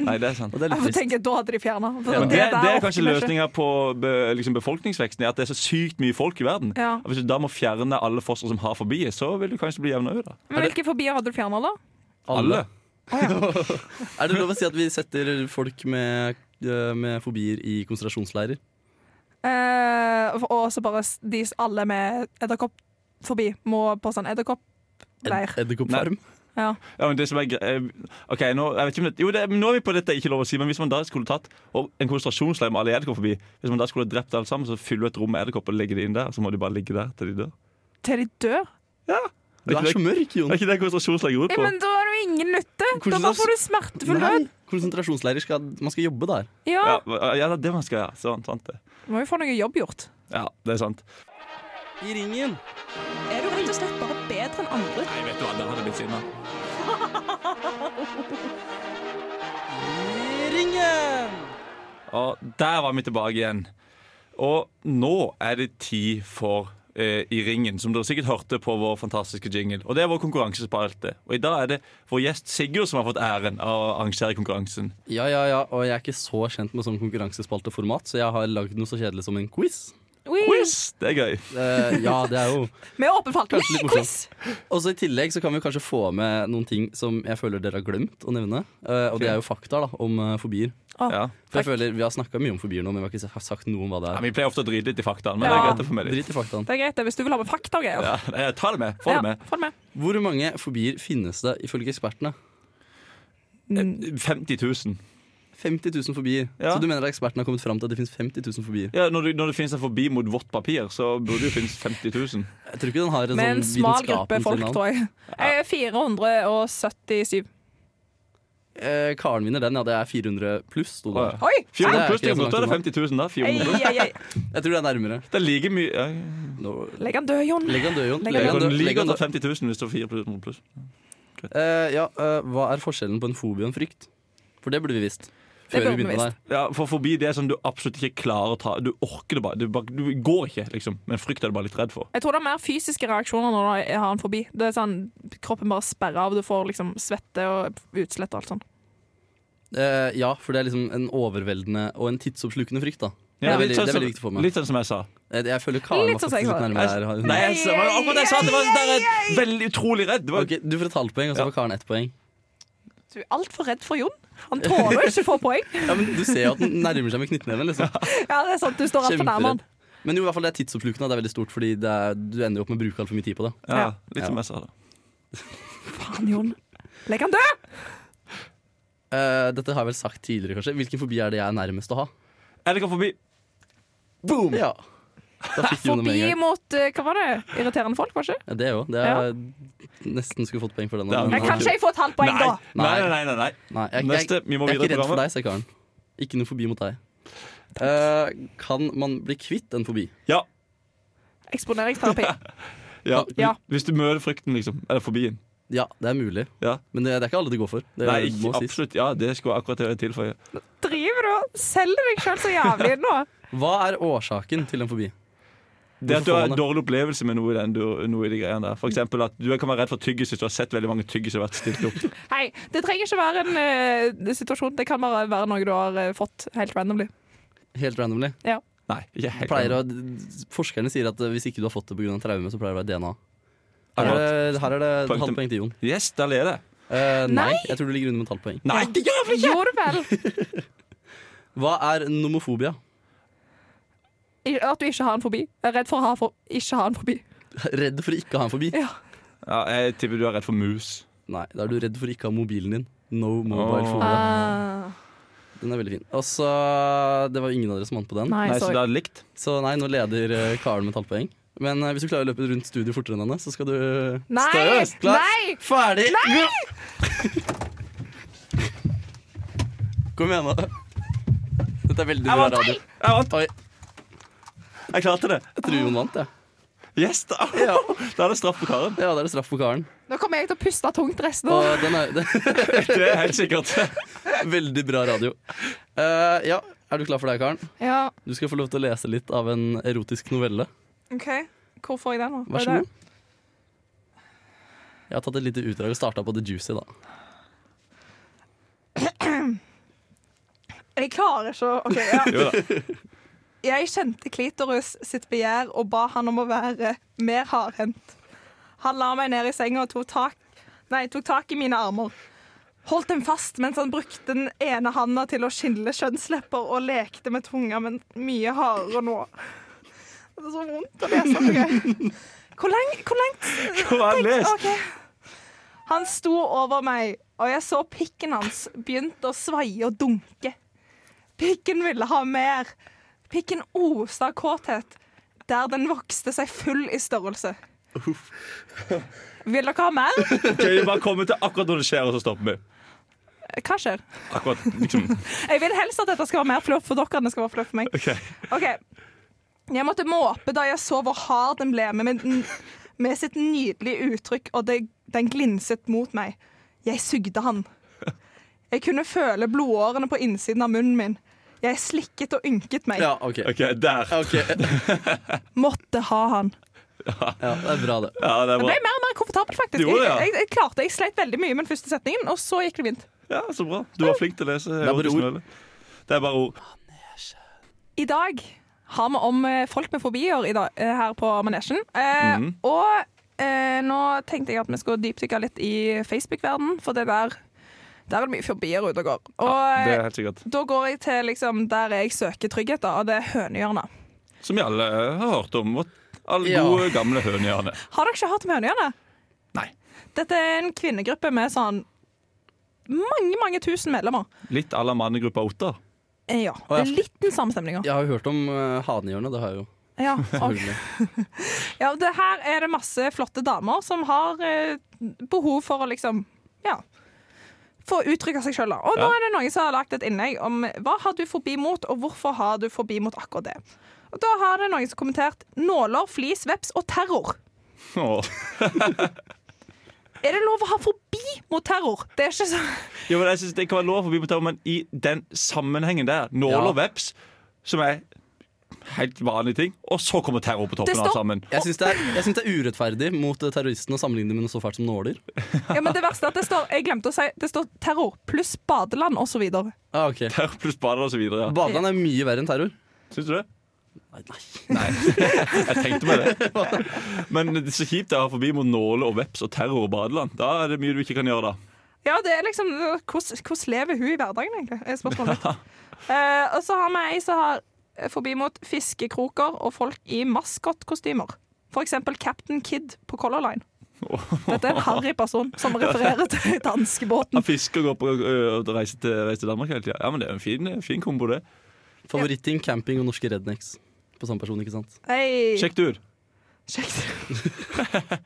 Speaker 3: Nei, det er sant.
Speaker 6: Og det er
Speaker 4: Jeg
Speaker 6: litt
Speaker 4: får
Speaker 6: trist.
Speaker 4: tenke, da hadde de fjerna.
Speaker 3: Men det, det er kanskje løsninga på be, liksom befolkningsveksten. er At det er så sykt mye folk i verden.
Speaker 4: Ja.
Speaker 3: Og Hvis du da må fjerne alle fostre som har forbi, så vil du kanskje bli jevna ut. da.
Speaker 4: Men hvilke fobier hadde du fjerna, da?
Speaker 3: Alle.
Speaker 6: Er det lov å si at vi setter folk med, eh, med fobier i konsentrasjonsleirer?
Speaker 4: Eh, og så bare s- de s- alle med edderkoppfobi må på sånn edderkoppleir.
Speaker 6: Edderkoppfarm?
Speaker 4: Ja.
Speaker 3: Ja, men det som er gre- eh, Ok, nå, jeg vet ikke om det, jo, det, nå er vi på dette, ikke lov å si, men hvis man da skulle tatt og en konsentrasjonsleir med alle edderkopper forbi, hvis man da skulle drept alle sammen, så fyller du et rom med edderkopper og legger de inn der, så må de bare ligge der til de dør.
Speaker 4: Til de dør?
Speaker 6: Du er så mørk, Jon.
Speaker 3: Er ikke det konsentrasjonsleir går ut
Speaker 4: Ja,
Speaker 3: på?
Speaker 4: men da er det jo ingen nytte! Da
Speaker 6: Hvordan
Speaker 4: bare
Speaker 6: slags-
Speaker 4: får du smertefull død.
Speaker 6: Nei, konsentrasjonsleirer skal Man skal jobbe der.
Speaker 4: Ja.
Speaker 3: Ja, ja, det er det man skal gjøre. Sånn, sant det.
Speaker 4: Må jo få noe jobb gjort.
Speaker 3: Ja, det er sant.
Speaker 6: I ringen.
Speaker 4: Er du rett og slett bare bedre enn andre?
Speaker 3: Nei, vet du hva, der hadde jeg blitt sinna.
Speaker 6: I ringen!
Speaker 3: Og der var vi tilbake igjen. Og nå er det tid for eh, i ringen, som dere sikkert hørte på vår fantastiske jingle. Og det er vår konkurransespalte. Og i dag er det vår gjest Sigurd som har fått æren av å arrangere konkurransen.
Speaker 6: Ja, ja, ja, og jeg er ikke så kjent med sånn konkurransespalteformat, så jeg har lagd noe så kjedelig som en quiz.
Speaker 3: Quiz! Det er gøy.
Speaker 6: Eh, ja, det er *laughs* jo
Speaker 4: Vi er åpen for alt.
Speaker 6: Kanskje litt
Speaker 4: Nei, quiz!
Speaker 6: Og så I tillegg så kan vi kanskje få med noen ting som jeg føler dere har glemt å nevne. Eh, og det er jo fakta da, om eh, fobier.
Speaker 3: Ja.
Speaker 6: For jeg føler Vi har snakka mye om fobier nå, men vi har ikke sagt noe om hva det
Speaker 3: Ja,
Speaker 6: er.
Speaker 3: vi pleier ofte å drite litt i faktaene, men det er
Speaker 4: Ja.
Speaker 3: greit å få med litt.
Speaker 6: Drit i faktaen.
Speaker 4: Det er greit det, hvis du vil ha med fakta og greier.
Speaker 3: Ja, eh, ta det med. Få det med.
Speaker 4: Ja, få det med.
Speaker 6: Hvor mange fobier finnes det ifølge ekspertene?
Speaker 4: Mm.
Speaker 3: 50 000.
Speaker 6: 50 000 fobier.
Speaker 3: Ja.
Speaker 6: Så du mener at ekspertene har kommet fram til at det finnes 50 000 fobier?
Speaker 3: Ja, når, det- når det finnes en forbi mot vått papir, så burde det jo finnes 50 000.
Speaker 6: Jeg tror ikke den har en
Speaker 4: Med en
Speaker 6: sånn
Speaker 4: smal gruppe
Speaker 6: vitenskapelig
Speaker 4: folk,
Speaker 6: navn.
Speaker 4: tror jeg. Eh, Jeg er 477.
Speaker 6: Eh, Karen vinner den, ja. Det er 400 pluss, sto det.
Speaker 3: Å,
Speaker 6: der.
Speaker 3: ja.
Speaker 4: Oi!
Speaker 3: 400
Speaker 6: Nei,
Speaker 3: pluss,
Speaker 6: det er ikke
Speaker 3: Jonas. Da er det
Speaker 6: så
Speaker 3: 50
Speaker 6: langt
Speaker 3: 000. Da. 400.
Speaker 4: Ei, ei, ei.
Speaker 6: Jeg tror det er nærmere.
Speaker 3: Det er like mye ja, ja.
Speaker 6: Nå,
Speaker 4: Legg han død, Jon.
Speaker 6: legg han død, Jon.
Speaker 4: Legg
Speaker 6: Legg han død, legg
Speaker 3: Like
Speaker 6: han
Speaker 3: under
Speaker 6: død.
Speaker 3: 50 000 hvis det er 400 pluss.
Speaker 6: Eh, ja, eh, hva er forskjellen på en fobi og en frykt? For det burde vi visst. Før
Speaker 4: burde
Speaker 6: vi
Speaker 4: vi
Speaker 6: begynte der.
Speaker 3: Ja, for forbi det er sånn du absolutt ikke klarer å ta Du orker det bare. Du, bare, du går ikke, liksom. Men frykt er du bare litt redd for.
Speaker 4: Jeg tror det er mer fysiske reaksjoner når jeg har en forbi. Det er sånn, Kroppen bare sperrer av, du får liksom svette og utslett og alt sånt.
Speaker 6: Eh, ja, for det er liksom en overveldende og en tidsoppslukende frykt, da.
Speaker 3: Ja,
Speaker 6: det, er veldig,
Speaker 3: litt sånn
Speaker 6: det er veldig
Speaker 3: som-
Speaker 6: viktig for meg.
Speaker 3: Litt sånn som jeg sa.
Speaker 6: Eh, Jeg føler Karen
Speaker 4: Litt
Speaker 6: var
Speaker 4: sånn
Speaker 6: faktisk
Speaker 4: som
Speaker 6: litt
Speaker 4: jeg
Speaker 6: nærmere her. Hun-
Speaker 3: Nei, jeg, sa- det var akkurat det jeg sa! Det var, det er et veldig utrolig redd. Det var,
Speaker 6: Ok, du får et halvt poeng, og så
Speaker 3: Ja.
Speaker 6: får Karen ett poeng.
Speaker 4: Du er altfor redd for Jon. Han tåler jo ikke å få poeng.
Speaker 6: Ja, men Du ser jo at den nærmer seg med knyttneven. Liksom.
Speaker 4: *laughs* Ja, det er sant, Du står altfor nærme han.
Speaker 6: Kjemperedd. Men jo, i hvert fall det er tidsoppslukende. og Det er veldig stort, fordi det er, du ender jo opp med å bruke altfor mye tid på det.
Speaker 3: ja,
Speaker 4: Ja.
Speaker 3: litt som jeg sa. da
Speaker 4: Faen, Jon. Legg han død!
Speaker 6: Eh, dette har jeg vel sagt tidligere, kanskje. Hvilken fobi er det jeg er nærmest å ha?
Speaker 3: Er det ikke forbi?
Speaker 6: Boom! Ja. Da fikk Jon det med
Speaker 4: Forbi
Speaker 6: en gang.
Speaker 4: mot eh, Hva var det? Irriterende folk, var det ikke?
Speaker 6: Ja, Det òg. Det er nesten skulle fått poeng for den.
Speaker 3: Ja,
Speaker 6: men-
Speaker 3: men-
Speaker 4: Jeg kan ikke jeg få et halvt poeng,
Speaker 3: Nei.
Speaker 4: da?
Speaker 3: Nei, nei, nei, nei, nei.
Speaker 6: Nei, jeg, jeg,
Speaker 3: Neste. Vi må
Speaker 6: Jeg er
Speaker 3: videre
Speaker 6: ikke
Speaker 3: i
Speaker 6: redd for
Speaker 3: programmet.
Speaker 6: deg, sier Karen. Ikke noe fobi mot deg. Eh, kan man bli kvitt en fobi?
Speaker 3: Ja.
Speaker 4: Eksponeringsterapi.
Speaker 3: ja.
Speaker 4: Ja.
Speaker 3: Hvis du møter frykten, liksom. Eller fobien.
Speaker 6: Ja, det er mulig.
Speaker 3: Ja.
Speaker 6: Men det, det er ikke alle det går for. Det
Speaker 3: Nei, ikke,
Speaker 6: må sies.
Speaker 3: absolutt. Ja, det skulle jeg akkurat til å tilføye.
Speaker 4: Driver du og selger deg sjøl så jævlig nå?
Speaker 6: Hva er årsaken til en fobi?
Speaker 3: Det at du
Speaker 6: Hvorfor får
Speaker 3: har en
Speaker 6: man det?
Speaker 3: dårlig opplevelse med noe i, den, du- noe i de greiene der. For eksempel at du kan være redd for tyggis hvis du har sett veldig mange tyggis som har vært stilt opp.
Speaker 4: *laughs* Hei, det trenger ikke være en eh, situasjon. Det kan bare være noe du har eh, fått helt randomly.
Speaker 6: Helt randomly.
Speaker 3: Nei, ikke helt.
Speaker 6: Pleier å, forskerne sier at eh, hvis ikke du har fått det pga. traume, så pleier det å være DNA. Her er
Speaker 3: Akkurat.
Speaker 6: det, her er det et
Speaker 3: Poeng til-
Speaker 6: halvt poeng til Jon.
Speaker 3: Yes, der ler jeg.
Speaker 6: Eh, nei,
Speaker 4: Nei!
Speaker 6: jeg tror du ligger under med et halvt poeng.
Speaker 3: Nei, det gjør jeg vel ikke!
Speaker 4: Gjorde vel
Speaker 6: Hva er nomofobia? *laughs*
Speaker 4: i- at du ikke har en fobi. Jeg er redd for å ha for, ikke ha en fobi.
Speaker 6: Redd for å ikke ha en fobi?
Speaker 4: Ja.
Speaker 3: Ja, jeg tipper du er redd for mus.
Speaker 6: Nei, da er du redd for å ikke ha mobilen din. No mobile
Speaker 3: Åh.
Speaker 6: phobia.
Speaker 4: Ah.
Speaker 6: Den er veldig fin. Og så, Det var jo ingen av dere som vant på den.
Speaker 4: Nei,
Speaker 3: Nei, så
Speaker 4: sorry.
Speaker 3: det er likt.
Speaker 6: Så nei, nå leder eh, Karen med et halvt poeng. Men eh, hvis du klarer å løpe rundt studio fortere enn henne, så skal du
Speaker 4: Nei!
Speaker 6: Støs, klar,
Speaker 4: Nei!
Speaker 6: Ferdig! Kom igjen, nå. Dette er veldig bra
Speaker 3: vant.
Speaker 6: radio.
Speaker 3: Jeg vant!
Speaker 6: Oi,
Speaker 3: Jeg klarte det.
Speaker 6: jeg tror Jon vant, jeg.
Speaker 3: Yes, da.
Speaker 6: Ja.
Speaker 3: *laughs* Da er det straff på karen.
Speaker 6: ja, da er det straff på Karen.
Speaker 4: Nå kommer jeg til å puste tungt resten av
Speaker 6: Og den er, det er
Speaker 3: Det er helt sikkert.
Speaker 6: veldig bra radio. Eh, ja, er du klar for deg, Karen?
Speaker 4: Ja,
Speaker 6: Du skal få lov til å lese litt av en erotisk novelle.
Speaker 4: OK. Hvor får jeg den nå?
Speaker 6: Vær så god. Jeg har tatt et lite utdrag og starta på The Juicy, da.
Speaker 4: Jeg klarer ikke å OK, ja.
Speaker 3: Jo da.
Speaker 4: Jeg kjente klitoris sitt begjær og ba han om å være mer hardhendt. Han la meg ned i senga og tok tak, nei, tok tak i mine armer. Holdt dem fast mens han brukte den ene handa til å skille kjønnslepper og lekte med tunga, men mye hardere nå. Det er så vondt å lese. ok. Hvor langt Hvor langt
Speaker 3: Hva har jeg lest?
Speaker 4: OK. Han sto over meg, og jeg så pikken hans begynte å svaie og dunke. Pikken ville ha mer. Pikken oste av kåthet, der den vokste seg full i størrelse. Vil dere ha mer?
Speaker 3: Ok, vi bare kommer til akkurat når det skjer, og så stopper vi.
Speaker 4: Hva skjer?
Speaker 3: Akkurat, liksom.
Speaker 4: Jeg vil helst at dette skal være mer flørt for dere enn det skal være flørt for meg.
Speaker 3: Ok.
Speaker 4: Ok. Jeg måtte måpe da jeg så hvor hard den ble med, min- med sitt nydelige uttrykk, og det, den glinset mot meg. Jeg sugde han. Jeg kunne føle blodårene på innsiden av munnen min. Jeg slikket og ynket meg.
Speaker 6: Ja, ok.
Speaker 3: Ok, der.
Speaker 6: Ok.
Speaker 4: Måtte ha han.
Speaker 6: Ja, det er bra, det.
Speaker 3: Ja, det er
Speaker 4: Jeg
Speaker 3: bra.
Speaker 4: ble mer og mer komfortabel, faktisk.
Speaker 3: Du gjorde det, ja.
Speaker 4: jeg, jeg, jeg klarte, jeg sleit veldig mye med den første setningen, og så gikk det fint.
Speaker 3: Ja, Så bra. Du var flink til å lese.
Speaker 6: er bare
Speaker 3: erotisk
Speaker 6: ord.
Speaker 3: novelle. Det er bare ord.
Speaker 4: I dag har vi om eh, folk med fobier i dag, eh, her på Manesjen. Eh, Og eh, nå tenkte jeg at vi skulle dypdykke litt i Facebook-verden, for det der, der er det mye fobier ute og går. Og
Speaker 3: Det er
Speaker 4: eh,
Speaker 3: helt sikkert.
Speaker 4: da går jeg til liksom, der jeg søker trygghet, da, og det er hønehjørnet.
Speaker 3: Som vi alle har hørt om. Vårt alle
Speaker 6: Ja.
Speaker 3: gode, gamle hønehjerne.
Speaker 4: Har dere ikke hørt om hønehjørnet?
Speaker 3: Nei.
Speaker 4: Dette er en kvinnegruppe med sånn mange, mange tusen medlemmer.
Speaker 3: Litt à la mannegruppa Otter. *laughs*
Speaker 4: Eh, ja.
Speaker 6: ja.
Speaker 4: Litt den samme stemninga.
Speaker 6: Jeg har jo hørt om uh, hanehjørnet. Det har jeg jo.
Speaker 4: Ja,
Speaker 6: *laughs*
Speaker 4: ok.
Speaker 6: selvfølgelig.
Speaker 4: Ja, og det her er det masse flotte damer som har eh, behov for å liksom Ja. Få uttrykke seg sjøl, da. Og
Speaker 3: Ja.
Speaker 4: nå er det noen som har lagt et innlegg om hva har du fobi mot, og hvorfor har du fobi mot akkurat det. Og da har det noen som har kommentert nåler, flis, veps og terror.
Speaker 3: Åh.
Speaker 4: Er det lov å ha fobi mot terror? Det er ikke så *laughs*
Speaker 3: Jo, men jeg synes Det kan være lov for Bibotar, men i den sammenhengen der, nål
Speaker 6: Ja.
Speaker 3: og veps, som er helt vanlige ting, og så kommer terror på
Speaker 4: Det
Speaker 3: toppen av
Speaker 4: står-
Speaker 3: sammen.
Speaker 6: Jeg syns det, er- jeg syns det er urettferdig mot eh, terroristen å sammenligne med noe så fælt som nåler.
Speaker 4: Ja, men det verste er at det står Jeg glemte å si det står terror pluss badeland osv.
Speaker 6: Ah, ok.
Speaker 3: Terror pluss bader og så videre. Ja.
Speaker 6: Badeland er mye verre enn terror.
Speaker 3: Syns du det?
Speaker 6: Nei, nei.
Speaker 3: Nei. *laughs* Jeg tenkte meg det. Men det er så kjipt det er å ha forbi mot nåler og veps og terror og badeland. Da er det mye du ikke kan gjøre, da.
Speaker 4: Ja, det er liksom Hvordan hvordan lever hun i hverdagen, egentlig? Er
Speaker 3: *laughs*
Speaker 4: spørsmålet mitt. Eh, og så har vi ei som har eh, forbi mot fiskekroker og folk i maskotkostymer. For eksempel Captain Kid på Color Line. Dette er en harry person som refererer
Speaker 3: *laughs*
Speaker 4: til danskebåten.
Speaker 3: Han fisker og går på ø, og reiser til, reiser til Danmark hele tida. Ja, men det er en fin, fin kombo, det.
Speaker 6: Favoritting, camping og norske rednecks. På samme person, ikke sant?
Speaker 4: Hei,
Speaker 3: Sjekk det ut.
Speaker 4: sjekk det.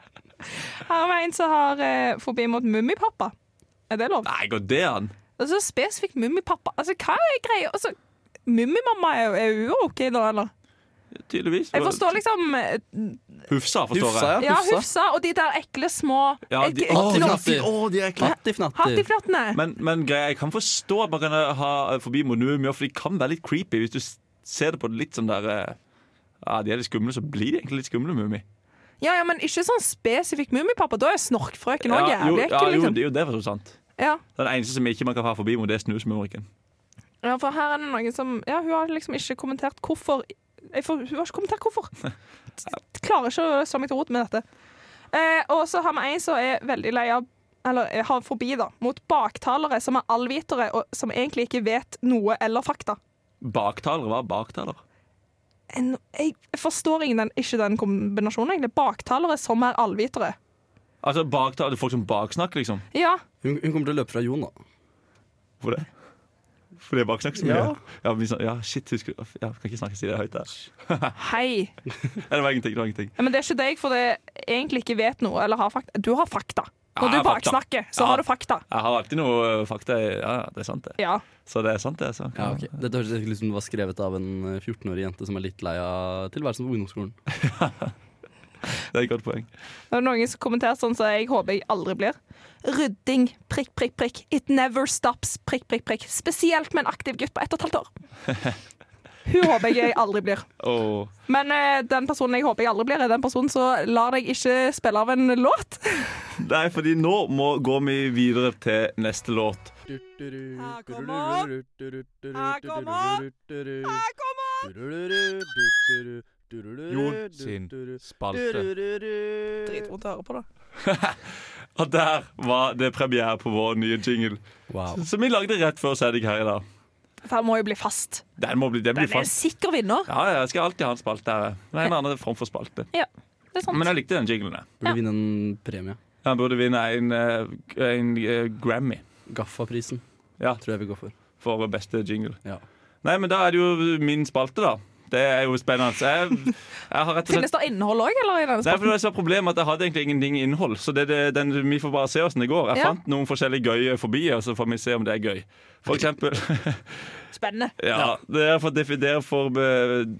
Speaker 4: Her har vi en som har eh, forbi mot Mummipappa. Er det lov?
Speaker 3: Nei, går det an?
Speaker 4: Og så spesifikt Mummipappa. Altså, hva er greia? Altså, Mummimamma er jo- er jo OK, da, eller?
Speaker 3: Tydeligvis.
Speaker 4: Jeg forstår liksom eh,
Speaker 3: Hufsa, forstår
Speaker 6: Hufsa,
Speaker 3: jeg.
Speaker 6: ja.
Speaker 4: Ja,
Speaker 6: Hufsa.
Speaker 4: Hufsa og de der ekle små
Speaker 3: Ja, de, å, de,
Speaker 6: Hatt i
Speaker 3: de, å, de er ekle.
Speaker 6: Hattifnatter.
Speaker 4: Hattiflattene.
Speaker 3: Men, men greia, jeg kan forstå at man kan ha forbi monumier, for de kan være litt creepy hvis du s- ser det på det litt sånn der eh, Ja, de er litt skumle, så blir de egentlig litt skumle, Mummi.
Speaker 4: Ja, ja, men ikke sånn spesifikt Mummipappa. Da er snorkfrøken òg
Speaker 3: Ja, jo,
Speaker 4: jævlig
Speaker 3: ja,
Speaker 4: ekkel.
Speaker 3: jo,
Speaker 4: Liksom.
Speaker 3: det er jo det for så sant.
Speaker 4: Ja.
Speaker 3: Den eneste som ikke man kan ha forbi mot, det er snusmumrikken.
Speaker 4: ja, for her er det noen som Ja, hun har liksom ikke kommentert hvorfor Jeg får, Hun har ikke kommentert hvorfor.
Speaker 3: *laughs*
Speaker 4: Jeg klarer ikke å slå meg til rot med dette. Eh, og så har vi ei som er veldig lei av eller eh, har forbi da, mot baktalere som er allvitere, og som egentlig ikke vet noe eller fakta.
Speaker 3: Baktalere var baktaler.
Speaker 4: En, jeg forstår ingen, den- ikke den kombinasjonen, egentlig. Baktalere som er allvitere.
Speaker 3: Altså baktaler, Folk som baksnakker, liksom.
Speaker 4: Ja,
Speaker 6: Hun, hun kommer til å løpe fra Jon, da.
Speaker 3: Hvorfor det? Fordi jeg baksnakker så mye?
Speaker 6: Ja.
Speaker 3: Ja, men sånn- ja shit, husker du ja, Kan ikke snakke si det høyt der.
Speaker 4: hei.
Speaker 3: Nei, Det var ingenting. det var ingenting
Speaker 4: Ja, Men det er ikke deg, for det egentlig ikke vet noe eller har fakta. Du har fakta.
Speaker 3: Ja,
Speaker 4: Når du
Speaker 3: jeg har fakta.
Speaker 4: baksnakker, så
Speaker 3: Ja.
Speaker 4: har du fakta.
Speaker 3: Jeg har alltid noe eh, fakta. i- Ja, ja, det er sant, det.
Speaker 4: Ja.
Speaker 3: Så det er sant, det. altså. Så.
Speaker 6: Ja, ok. Dette høres ut som det var skrevet av en eh, 14-årig jente som er litt lei av tilværelsen på ungdomsskolen.
Speaker 3: Det er et godt poeng.
Speaker 4: Det er noen som kommenterer sånn som jeg håper jeg aldri blir. Rydding, prikk, prikk, prikk. It never stops, prikk, prikk, prikk. Spesielt med en aktiv gutt på ett og et halvt år.
Speaker 3: *laughs*
Speaker 4: Hun håper jeg jeg aldri blir.
Speaker 3: Og
Speaker 4: Men eh, den personen jeg håper jeg aldri blir, er den personen som lar deg ikke spille av en låt.
Speaker 3: Nei, fordi nå må, går vi videre til neste låt.
Speaker 4: Her kommer- Her kommer-
Speaker 3: Jon sin spalte.
Speaker 4: Dritvondt å høre på, da.
Speaker 3: Og der var det premiere på vår nye jingle,
Speaker 6: Wow.
Speaker 3: som vi lagde rett før sending her i dag.
Speaker 4: Dette må jo bli fast.
Speaker 3: Den må bli, den blir
Speaker 4: Den er en
Speaker 3: fast.
Speaker 4: sikker vinner.
Speaker 3: Ja, ja, jeg skal alltid ha en spalte her. Det er en annen form for spalte.
Speaker 4: Ja, det er sant.
Speaker 3: Men jeg likte den jinglen. jeg.
Speaker 6: *laughs* Burde vinne en premie.
Speaker 3: Han burde vinne en, eh, en eh, Grammy
Speaker 6: Gaffaprisen
Speaker 3: Ja.
Speaker 6: tror jeg vi går for.
Speaker 3: for beste jingle.
Speaker 6: Ja.
Speaker 3: Nei, men da er det jo min spalte, da. Det er jo spennende. Jeg, jeg har rett og slett
Speaker 4: Finnes det innhold òg, eller? i denne
Speaker 3: Nei, for
Speaker 4: spalten?
Speaker 3: det som var problemet at Jeg hadde egentlig ingenting innhold, så det, det, den, vi får bare se hvordan det går. Jeg
Speaker 4: Ja.
Speaker 3: fant noen forskjellige gøye fobier, så får vi se om det er gøy. For eksempel *laughs*
Speaker 4: Spennende.
Speaker 3: Ja, dere får definere for be-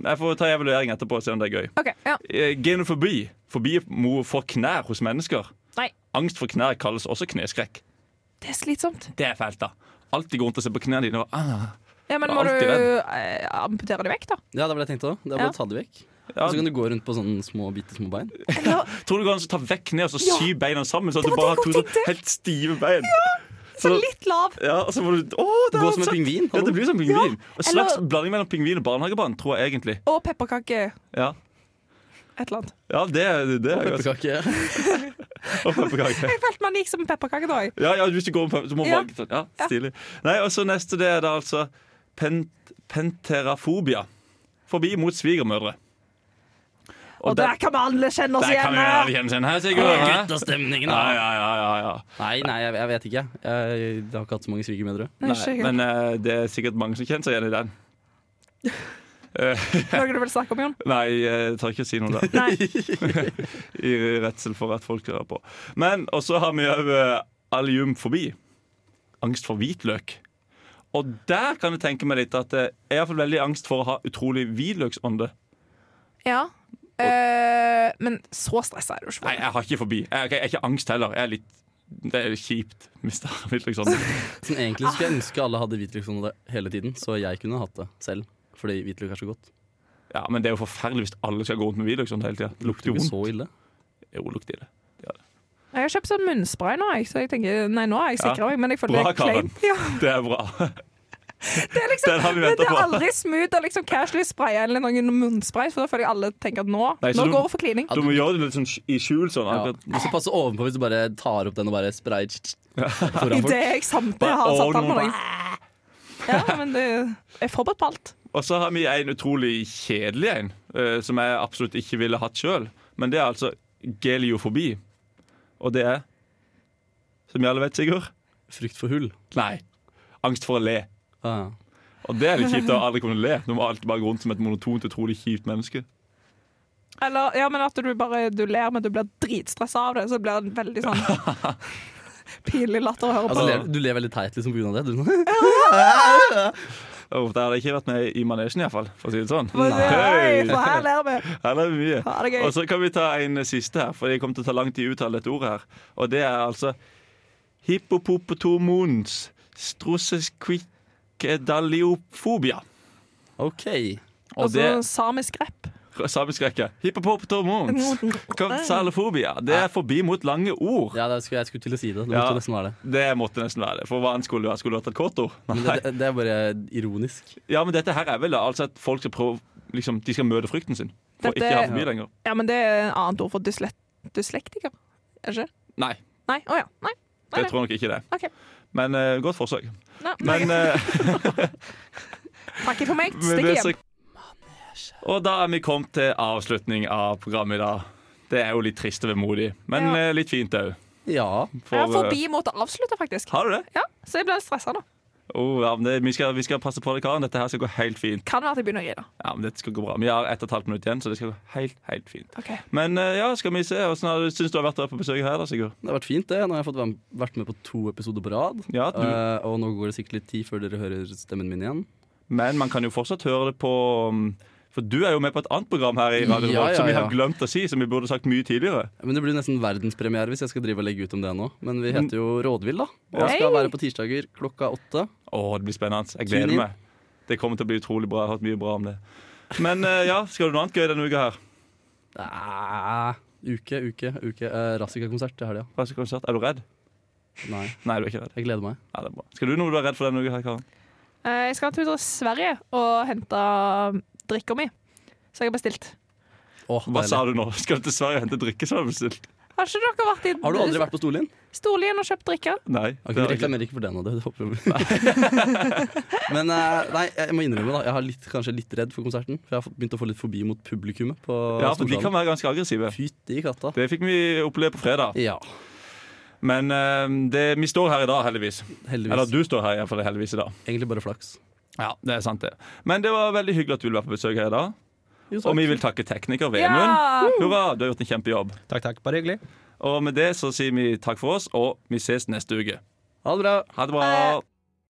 Speaker 3: Jeg får ta en evaluering etterpå og se om det er gøy.
Speaker 4: Ok, ja.
Speaker 3: Eh, Genofobi. Fobi mo- for knær hos mennesker.
Speaker 4: Nei,
Speaker 3: Angst for knær kalles også kneskrekk.
Speaker 4: det er slitsomt.
Speaker 3: Det er fælt, da. Alltid gå rundt og se på knærne dine. og, Ah.
Speaker 4: Ja, men
Speaker 3: Jeg er
Speaker 4: må du
Speaker 3: alltid
Speaker 4: eh, amputere det vekk, da?
Speaker 3: *laughs*
Speaker 6: Ja, det var det jeg tenkte òg. Det er bare
Speaker 4: Ja.
Speaker 6: å ta det vekk.
Speaker 3: Ja,
Speaker 6: Og
Speaker 4: Altså,
Speaker 6: så kan du gå rundt på sånne små, bitte små bein.
Speaker 3: tror du kanskje ta vekk ned og så
Speaker 4: Ja.
Speaker 3: sy beina sammen, sånn at
Speaker 4: Det
Speaker 3: du
Speaker 4: var
Speaker 3: bare har
Speaker 4: det
Speaker 3: to
Speaker 4: jeg
Speaker 3: sånn
Speaker 4: tenkte.
Speaker 3: helt stive bein?
Speaker 4: Så litt lav.
Speaker 3: Ja, og så må du Å, det
Speaker 6: Gå
Speaker 3: er
Speaker 6: som en
Speaker 3: så-
Speaker 6: pingvin.
Speaker 3: Ja, det blir som pingvin. En slags
Speaker 4: eller-
Speaker 3: blanding mellom pingvin og barnehagebarn, tror jeg egentlig.
Speaker 4: Og pepperkake.
Speaker 3: Ja,
Speaker 4: Et eller annet.
Speaker 3: ja det, det er ganske
Speaker 6: Pepperkake. *laughs*
Speaker 3: Og pepperkake.
Speaker 4: Jeg følte man gikk som en pepperkake da. jeg.
Speaker 3: Ja, ja, hvis du går med pepper, så må
Speaker 4: Ja.
Speaker 3: man sånn. Ja, stilig. Nei, og så neste det er da altså pen, penterafobia. Forbi mot svigermødre.
Speaker 4: Og, der kan vi alle kjenne oss
Speaker 3: der
Speaker 4: igjen.
Speaker 3: kan vi alle kjenne seg igjen, her, Sigurd. hæ?
Speaker 6: Guttastemningen,
Speaker 3: Ja,
Speaker 6: da.
Speaker 3: ja, ja, ja, ja.
Speaker 6: Nei, nei, jeg, jeg vet ikke. Jeg, jeg har ikke hatt så mange svigermødre.
Speaker 4: Nei,
Speaker 3: Nei,
Speaker 4: ikke
Speaker 3: men eh, det er sikkert mange som kjenner seg igjen i den.
Speaker 4: Noe du vil snakke om, Jon?
Speaker 3: Nei, jeg tør ikke si noe der.
Speaker 1: Nei.
Speaker 3: *laughs* I redsel for at folk hører på. Men og så har vi òg aliumfobi. Angst for hvitløk. Og der kan jeg tenke meg litt at eh, jeg har iallfall veldig angst for å ha utrolig hvitløksånde.
Speaker 4: Ja. Eh, men så stressa er du ikke. for.
Speaker 3: Nei, jeg har ikke forbi. Jeg, jeg er ikke angst heller. Jeg er litt det er kjipt. *laughs* Mr. Hvitløksånde.
Speaker 6: Sånn, egentlig skulle jeg ønske alle hadde hvitløk sånn hele tiden, så jeg kunne hatt det selv. Fordi hvitløk er så godt.
Speaker 3: Ja, men det er jo forferdelig hvis alle skal gå rundt med hvitløksånde hele tida. Det lukter jo
Speaker 6: ikke
Speaker 3: vondt.
Speaker 6: så ille.
Speaker 3: Jo, lukter det.
Speaker 4: Jeg har kjøpt sånn munnspray nå, jeg, så jeg tenker nei, nå er jeg
Speaker 3: Ja.
Speaker 4: sikra meg. Men jeg føler
Speaker 3: Bra,
Speaker 4: det er
Speaker 3: Karen.
Speaker 4: kleint. Ja,
Speaker 3: Det er bra.
Speaker 4: det er liksom,
Speaker 3: Den har vi
Speaker 4: men
Speaker 3: ventet
Speaker 4: det er
Speaker 3: på.
Speaker 4: aldri smooth å liksom casually spraye eller noen munnspray, for da føler jeg alle tenker at nå,
Speaker 3: Nei, så
Speaker 4: nå
Speaker 3: du-
Speaker 4: går det for klining.
Speaker 3: Du må gjøre det litt sånn i skjul sånn.
Speaker 6: Ja.
Speaker 3: akkurat.
Speaker 6: Og så passe ovenpå hvis du bare tar opp den og bare sprayer foran folk.
Speaker 4: Idet jeg samtidig
Speaker 3: Bare,
Speaker 4: har
Speaker 3: å,
Speaker 4: satt den
Speaker 3: nå
Speaker 4: på
Speaker 3: må-
Speaker 4: noen. Ja, men det jeg er forberedt på alt.
Speaker 3: Og så har vi en utrolig kjedelig en, eh, som jeg absolutt ikke ville hatt sjøl. Men det er altså geliofobi. Og det er, som vi alle vet, Sigurd
Speaker 6: Frykt for hull.
Speaker 3: Nei. Angst for å le.
Speaker 6: Ah,
Speaker 3: Og det er litt kjipt å aldri kunne le. Du må alltid bare gå rundt som et monotont, utrolig kjipt menneske.
Speaker 4: Eller ja, men at du bare du ler, men du blir dritstressa av det, så blir det en veldig sånn
Speaker 3: *laughs*
Speaker 4: pinlig latter å høre på.
Speaker 6: altså, ler- du ler veldig teit liksom på grunn av det. *laughs* Du.
Speaker 3: Og det hadde jeg ikke vært med i manesjen, iallfall. For å si det sånn.
Speaker 4: For det-
Speaker 3: Hei!
Speaker 4: Hei, for her ler vi.
Speaker 3: Her er vi mye.
Speaker 4: Ha det gøy.
Speaker 3: Og så kan vi ta en siste her, for jeg kommer til å ta lang tid å uttale dette ordet her. Og det er altså hippopotomons strossesquickedaliofobia.
Speaker 6: OK.
Speaker 3: Og
Speaker 4: Og så
Speaker 3: det
Speaker 4: samisk rep.
Speaker 3: samisk rekke. Hippopotomons kapsalofobia. Det er forbi mot lange ord.
Speaker 6: Ja, det skulle, jeg skulle til å si det. Det måtte
Speaker 3: Ja.
Speaker 6: nesten være det.
Speaker 3: Det måtte nesten være det. For hva annet skulle det være? Skulle det vært et kort ord?
Speaker 6: Men det, det, det er bare ironisk.
Speaker 3: Ja, men dette her er vel altså at folk skal prøve liksom, De skal møte frykten sin. For
Speaker 4: Dette-
Speaker 3: ikke å ha forbi lenger.
Speaker 4: Ja, men det er et annet ord for dysle dyslektiker. Er det ikke?
Speaker 3: Nei,
Speaker 4: Nei. Å ja. Nei.
Speaker 3: det
Speaker 4: Nei, nei.
Speaker 3: tror jeg nok ikke det. er.
Speaker 4: Ok.
Speaker 3: Men eh, godt forsøk.
Speaker 4: Nei, nei.
Speaker 3: Men eh,
Speaker 4: Takk for meg.
Speaker 3: Men
Speaker 4: Stikk
Speaker 3: det er
Speaker 4: hjem.
Speaker 3: så- Og da er vi kommet til avslutning av programmet i dag. Det er jo litt trist og vemodig, men
Speaker 4: Ja.
Speaker 3: eh, litt fint òg.
Speaker 6: Ja.
Speaker 4: Jeg er forbi mot å avslutte, faktisk.
Speaker 3: Har du det?
Speaker 4: Ja, Så jeg blir stressa nå.
Speaker 3: Oh, ja, men det vi, skal, vi skal passe på det, Karen. Dette her skal gå helt fint.
Speaker 4: Kan være at jeg begynner å grine.
Speaker 3: Ja, men dette skal gå bra. Vi har ett og et halvt minutt igjen, så det skal gå helt, helt fint.
Speaker 4: Ok.
Speaker 3: Men eh, ja, skal vi se. Hvordan syns du har vært der på besøk her, da, Sigurd?
Speaker 6: Det har vært fint, det. Nå har jeg fått være med- vært med på to episoder på rad.
Speaker 3: Ja, du-
Speaker 6: Eh, og nå går det sikkert litt tid før dere hører stemmen min igjen.
Speaker 3: Men man kan jo fortsatt høre det på mm, For du er jo med på et annet program her i Radio
Speaker 6: Ja,
Speaker 3: Rock
Speaker 6: ja,
Speaker 3: som vi har
Speaker 6: ja.
Speaker 3: glemt å si, som vi burde sagt mye tidligere.
Speaker 6: Men Det blir jo nesten verdenspremiere hvis jeg skal drive og legge ut om det nå. Men vi heter jo Rådvill, da. Og
Speaker 4: Ja.
Speaker 6: skal
Speaker 4: Hei!
Speaker 6: være på tirsdager klokka åtte.
Speaker 3: Å, det blir spennende. Jeg
Speaker 6: Tune
Speaker 3: gleder
Speaker 6: inn.
Speaker 3: meg. Det kommer til å bli utrolig bra. Jeg har hørt mye bra om det. Men eh, ja, skal du noe annet gøy denne uka her?
Speaker 6: Ah, uke, uke, uke. Eh, Rassika-konsert til helga.
Speaker 3: Hva skal konsert? Er du redd?
Speaker 6: Nei,
Speaker 3: Nei, du er ikke redd.
Speaker 6: jeg gleder meg.
Speaker 3: Ja, det er bra. Skal du noe du er redd for denne uka her, Karen?
Speaker 4: Eh, Jeg skal en tur til Sverige og hente um, drikka mi, som jeg har bestilt.
Speaker 6: Åh,
Speaker 3: Hva
Speaker 6: deilig.
Speaker 3: sa du nå? Skal du til Sverige og hente drikke som er bestilt?
Speaker 4: Har ikke dere vært i
Speaker 6: Har du aldri vært på Storlien?
Speaker 4: Storlien og kjøpt drikke?
Speaker 3: Nei. det
Speaker 6: Ok, Vi
Speaker 3: har jeg ikke.
Speaker 6: reklamerer ikke for den av det. det håper jeg.
Speaker 3: *laughs*
Speaker 6: Men eh, nei, jeg må innrømme da, jeg er litt, kanskje litt redd for konserten. For jeg har fått- begynt å få litt fobi mot publikummet på
Speaker 3: Ja, for de
Speaker 6: Stordalen.
Speaker 3: kan være ganske aggressive.
Speaker 6: Fytti katta.
Speaker 3: Det fikk vi oppleve på fredag.
Speaker 6: Ja,
Speaker 3: Men eh, det, vi står her i dag, heldigvis.
Speaker 6: heldigvis.
Speaker 3: Eller du står her i hvert fall heldigvis i dag.
Speaker 6: Egentlig bare flaks.
Speaker 3: Ja, det er sant det. Men det var veldig hyggelig at du ville være på besøk her i dag. Og vi vil takke tekniker Vemund.
Speaker 4: Ja!
Speaker 3: Hurra, du har gjort en kjempejobb.
Speaker 2: Takk, takk. Bare hyggelig.
Speaker 3: Og med det så sier vi takk for oss, og vi ses neste uke.
Speaker 6: Ha det bra.
Speaker 3: Ha det bra.
Speaker 4: Ha det.